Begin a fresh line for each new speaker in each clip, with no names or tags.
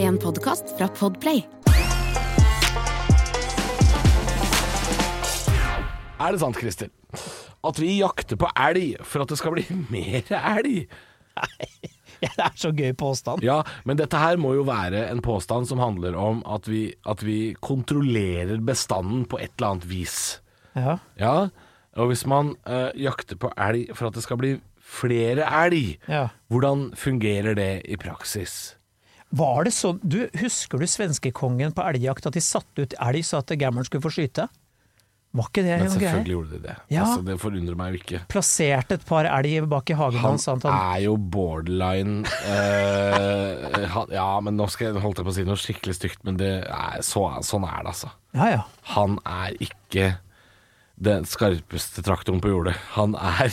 en podkast fra Podplay.
Er det sant, Christer? At vi jakter på elg for at det skal bli mer elg?
Ja, det er så gøy påstand.
Ja, men dette her må jo være en påstand som handler om at vi, at vi kontrollerer bestanden på et eller annet vis.
Ja.
Ja, og hvis man eh, jakter på elg for at det skal bli flere elg,
Ja.
hvordan fungerer det i praksis?
Var det sånn du, Husker du svenskekongen på elgjakt, at de satte ut elg så at gammelen skulle få skyte? Var ikke det
Men
noe
selvfølgelig
greier?
gjorde de det.
Ja.
Altså, det forundrer meg jo ikke.
Plasserte et par elg bak i hagen
Han
hans. sånn at Han,
er jo borderline eh, han, Ja, men nå skal jeg holdt jeg på å si noe skikkelig stygt, men det er, så, sånn er det, altså.
ja, ja.
Han er ikke den skarpeste traktoren på jordet. Han er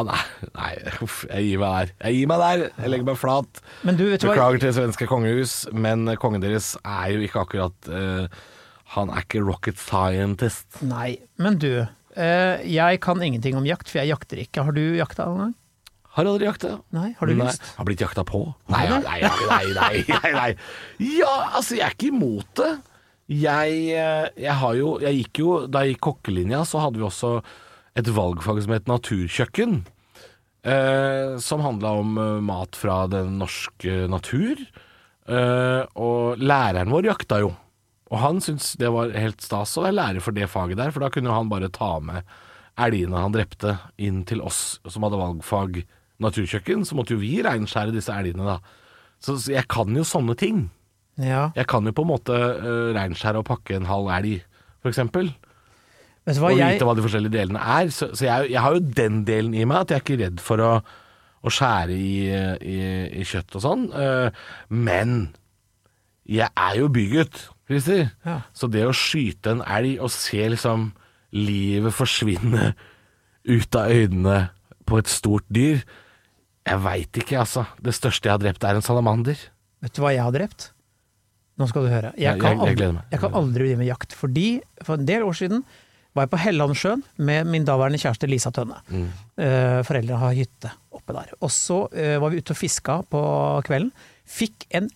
han er Nei, uff, jeg gir meg der. Jeg gir meg der! Jeg legger meg flat.
Men du, vet du hva-
Beklager til svenske kongehus, men kongen deres er jo ikke akkurat eh, Han er ikke rocket scientist.
Nei, men du. Eh, jeg kan ingenting om jakt, for jeg jakter ikke. Har du jakta noen gang?
Har aldri jakta.
Nei, har du
Nei.
lyst?
Har blitt jakta på? Nei, nei, nei, nei, nei, nei, nei. Ja, altså, jeg er ikke imot det. Jeg, eh, jeg har jo Jeg gikk jo Da jeg gikk kokkelinja, så hadde vi også et valgfag som het naturkjøkken. Eh, som handla om eh, mat fra den norske natur. Eh, og læreren vår jakta jo. Og han syntes det var helt stas å være lærer for det faget der, for da kunne jo han bare ta med elgene han drepte inn til oss som hadde valgfag naturkjøkken. Så måtte jo vi reinskjære disse elgene, da. Så, så jeg kan jo sånne ting.
Ja.
Jeg kan jo på en måte eh, reinskjære og pakke en halv elg, for eksempel.
Vet du hva,
Og
jeg,
vite hva de forskjellige delene er. Så, så jeg, jeg har jo den delen i meg at jeg er ikke redd for å, å skjære i, i, i kjøtt og sånn. Eh, Men jeg er jo bygutt, Christer.
Ja.
Så det å skyte en elg og se liksom livet forsvinne ut av øynene på et stort dyr Jeg veit ikke, altså. Det største jeg har drept, er en salamander.
Vet du hva jeg har drept? Nå skal du høre.
Ja,
Jeg kan,
jeg- jeg gleder
aldri,
meg.
jeg kan aldri drive med jakt, fordi for en del år siden var jeg på Hellandsjøen med min daværende kjæreste Lisa Tønne.
Mm.
Eh, foreldrene har hytte oppe der. Og så eh, var vi ute og fiska på kvelden. Fikk en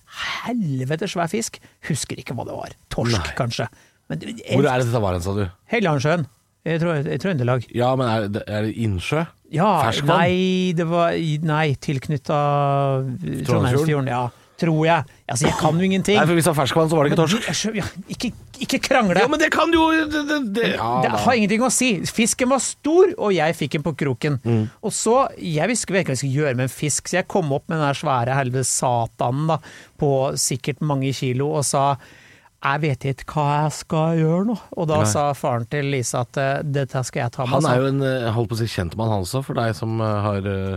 helvete svær fisk. Husker ikke hva det var. Torsk,
Nei.
kanskje. Men,
Hvor er det dette var hen, sa du?
Hellandsjøen. I Trø- i Trøndelag.
Ja, men er det, er det innsjø?
Ja,
Ferskvann?
nei, det var Nei, tilknytta Trondheimsfjorden. Ja, tror jeg. Altså, jeg kan jo ingenting.
Nei, for hvis det var ferskvann, så var det ikke
Men
torsk.
du, jeg skjø- ja, Ikke, ikke krangle!
Ja, men det kan du jo det, det, det.
det har ingenting å si. Fisken var stor, og jeg fikk den på kroken.
Mm.
Og så, Jeg visste ikke hva jeg skulle gjøre med en fisk, så jeg kom opp med den der svære helvete satanen da, på sikkert mange kilo og sa jeg vet ikke hva jeg skal gjøre nå. Og da
Nei.
sa faren til Lisa at eh, dette skal jeg ta med.
Han
altså.
er jo en eh, holdt på å si kjentmann, han også, for deg som eh, har eh,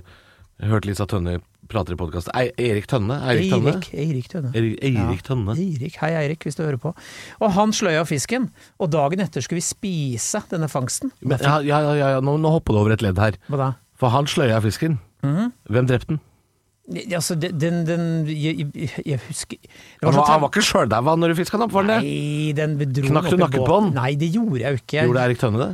hørt Lisa Tønne prate i podkast. E Erik Tønne? Eirik Tønne?
Eirik, Eirik Tønne.
Eirik, Eirik Tønne.
Eirik, Hei, Eirik, hvis du hører på. Og han sløy av fisken, og dagen etter skulle vi spise denne fangsten.
Men, ja, ja, ja, ja, nå, nå hopper du over et ledd her.
Hva da?
For han sløya fisken.
Mhm.
Hvem drepte den?
Altså, den, den, den jeg, jeg- jeg husker det var
Han
så
var, han
tra-
var ikke sjøldaua når du fiska den opp, var han det?
Nei, den dro
Knakk du
den opp i
nakket på
båten.
den?
Nei, det gjorde jeg jo ikke.
Gjorde Eirik Tønne det?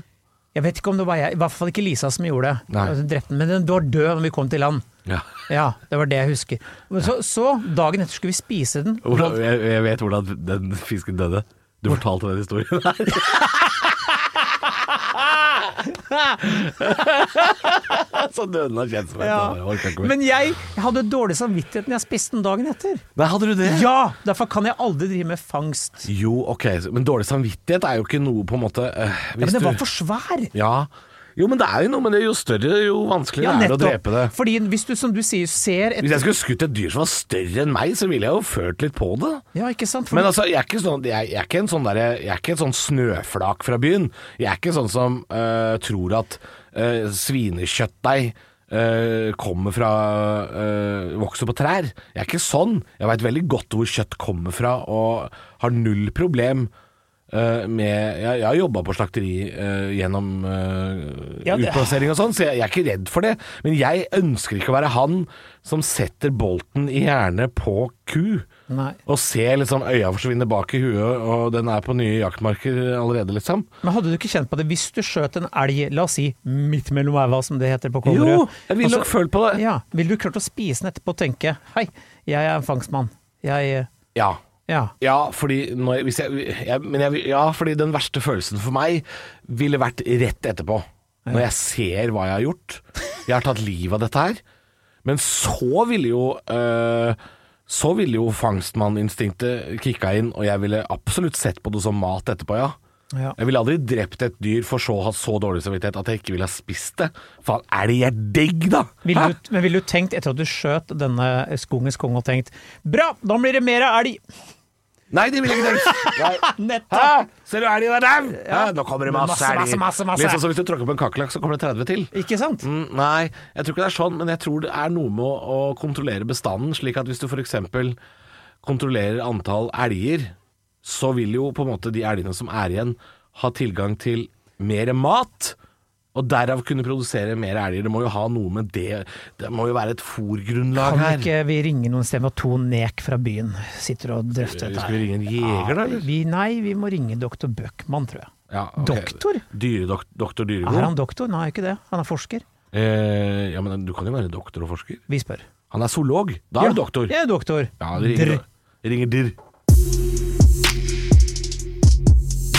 Jeg vet ikke om det var jeg, i hvert fall ikke Lisa som gjorde det.
Nei.
Altså, drepte den, Men den var død når vi kom til land.
Ja.
Ja, det var det jeg husker. Men Så, så dagen etter skulle vi spise den.
Hvordan, jeg, jeg vet hvordan den fisken døde. Du fortalte den historien her. så døde den av kjensomhet.
Ja.
Jeg orker ikke mer.
Men jeg, jeg hadde dårlig samvittighet når jeg spiste den dagen etter.
Nei, hadde du det?
Ja! Derfor kan jeg aldri drive med fangst.
Jo, ok, så- men dårlig samvittighet er jo ikke noe på en måte eh,
Ja,
hvis
men den var
du-
for svær!
Ja, jo, men det er jo noe med det. Jo større, jo vanskeligere er det å drepe det.
Fordi hvis du, som du sier, ser et
Hvis jeg skulle skutt et dyr som var større enn meg, så ville jeg jo ført litt på det.
Ja, ikke sant?
Men altså, jeg er ikke, sånn, jeg, jeg er ikke en sånn derre- jeg er ikke et sånn snøflak fra byen. Jeg er ikke sånn som eh, tror at eh, svinekjøttdeig eh, kommer fra eh, Vokser på trær. Jeg er ikke sånn. Jeg veit veldig godt hvor kjøtt kommer fra, og har null problem. eh, med, jeg, jeg har jobba på slakteri eh, gjennom eh,
Ja, det-
utplassering og sånn, så jeg, jeg er ikke redd for det. Men jeg ønsker ikke å være han som setter bolten i hjernen på ku.
Nei.
Og ser liksom øya forsvinne bak i huet, og den er på nye jaktmarker allerede, liksom.
Men hadde du ikke kjent på det hvis du skjøt en elg, la oss si midt mellom æva, som det heter på Kollerud?
Jo, jeg ville nok følt på det.
Ja, Ville du klart å spise den etterpå og tenke hei, jeg er en fangstmann. Jeg eh,
Ja.
Ja.
Ja, fordi når jeg, hvis jeg, jeg, men jeg, ja, fordi den verste følelsen for meg ville vært rett etterpå. Når jeg ser hva jeg har gjort. Jeg har tatt livet av dette her. Men så ville jo øh, Så ville jo fangstmanninstinktet kicka inn, og jeg ville absolutt sett på det som mat etterpå, ja.
Ja.
Jeg ville aldri drept et dyr for så å ha så dårlig samvittighet at jeg ikke ville ha spist det. Faen, elg er digg, da!
Ville
Hæ?
du, men ville du tenkt, etter at du skjøt denne skogens konge, og tenkt Bra, da blir det mer av elg!
Nei, det ville jeg ikke tenkt. Nei.
Nettopp!
Hæ? Ser du elgen er dau? Ja. Nå kommer det masse,
Masse, masse,
elger.
masse, masse.
Litt sånn som hvis du tråkker på en kakerlakk, så kommer det 30 til.
Ikke sant?
Mm, nei, jeg tror ikke det er sånn, men jeg tror det er noe med å, å kontrollere bestanden, slik at hvis du f.eks. kontrollerer antall elger, så vil jo på en måte de elgene som er igjen, ha tilgang til mer mat. Og derav kunne produsere mer elger. Det må jo ha noe med det Det må jo være et fôrgrunnlag
Kan
her.
ikke vi ringe noen sted med to nek fra byen sitter og drøfter dette
Skal vi
her?
ringe en jeger, da? eller?
Vi, nei, vi må ringe doktor Bøckmann, tror jeg.
Ja, ok.
Doktor?
Dyredok doktor
Er
Dyregod?
han doktor? Nei, ikke det. Han er forsker.
Eh, ja, men du kan jo være doktor og forsker.
Vi spør.
Han er zoolog. Da er du doktor.
Jeg er doktor.
Ja, det ringer,
Drr.
det ringer dirr.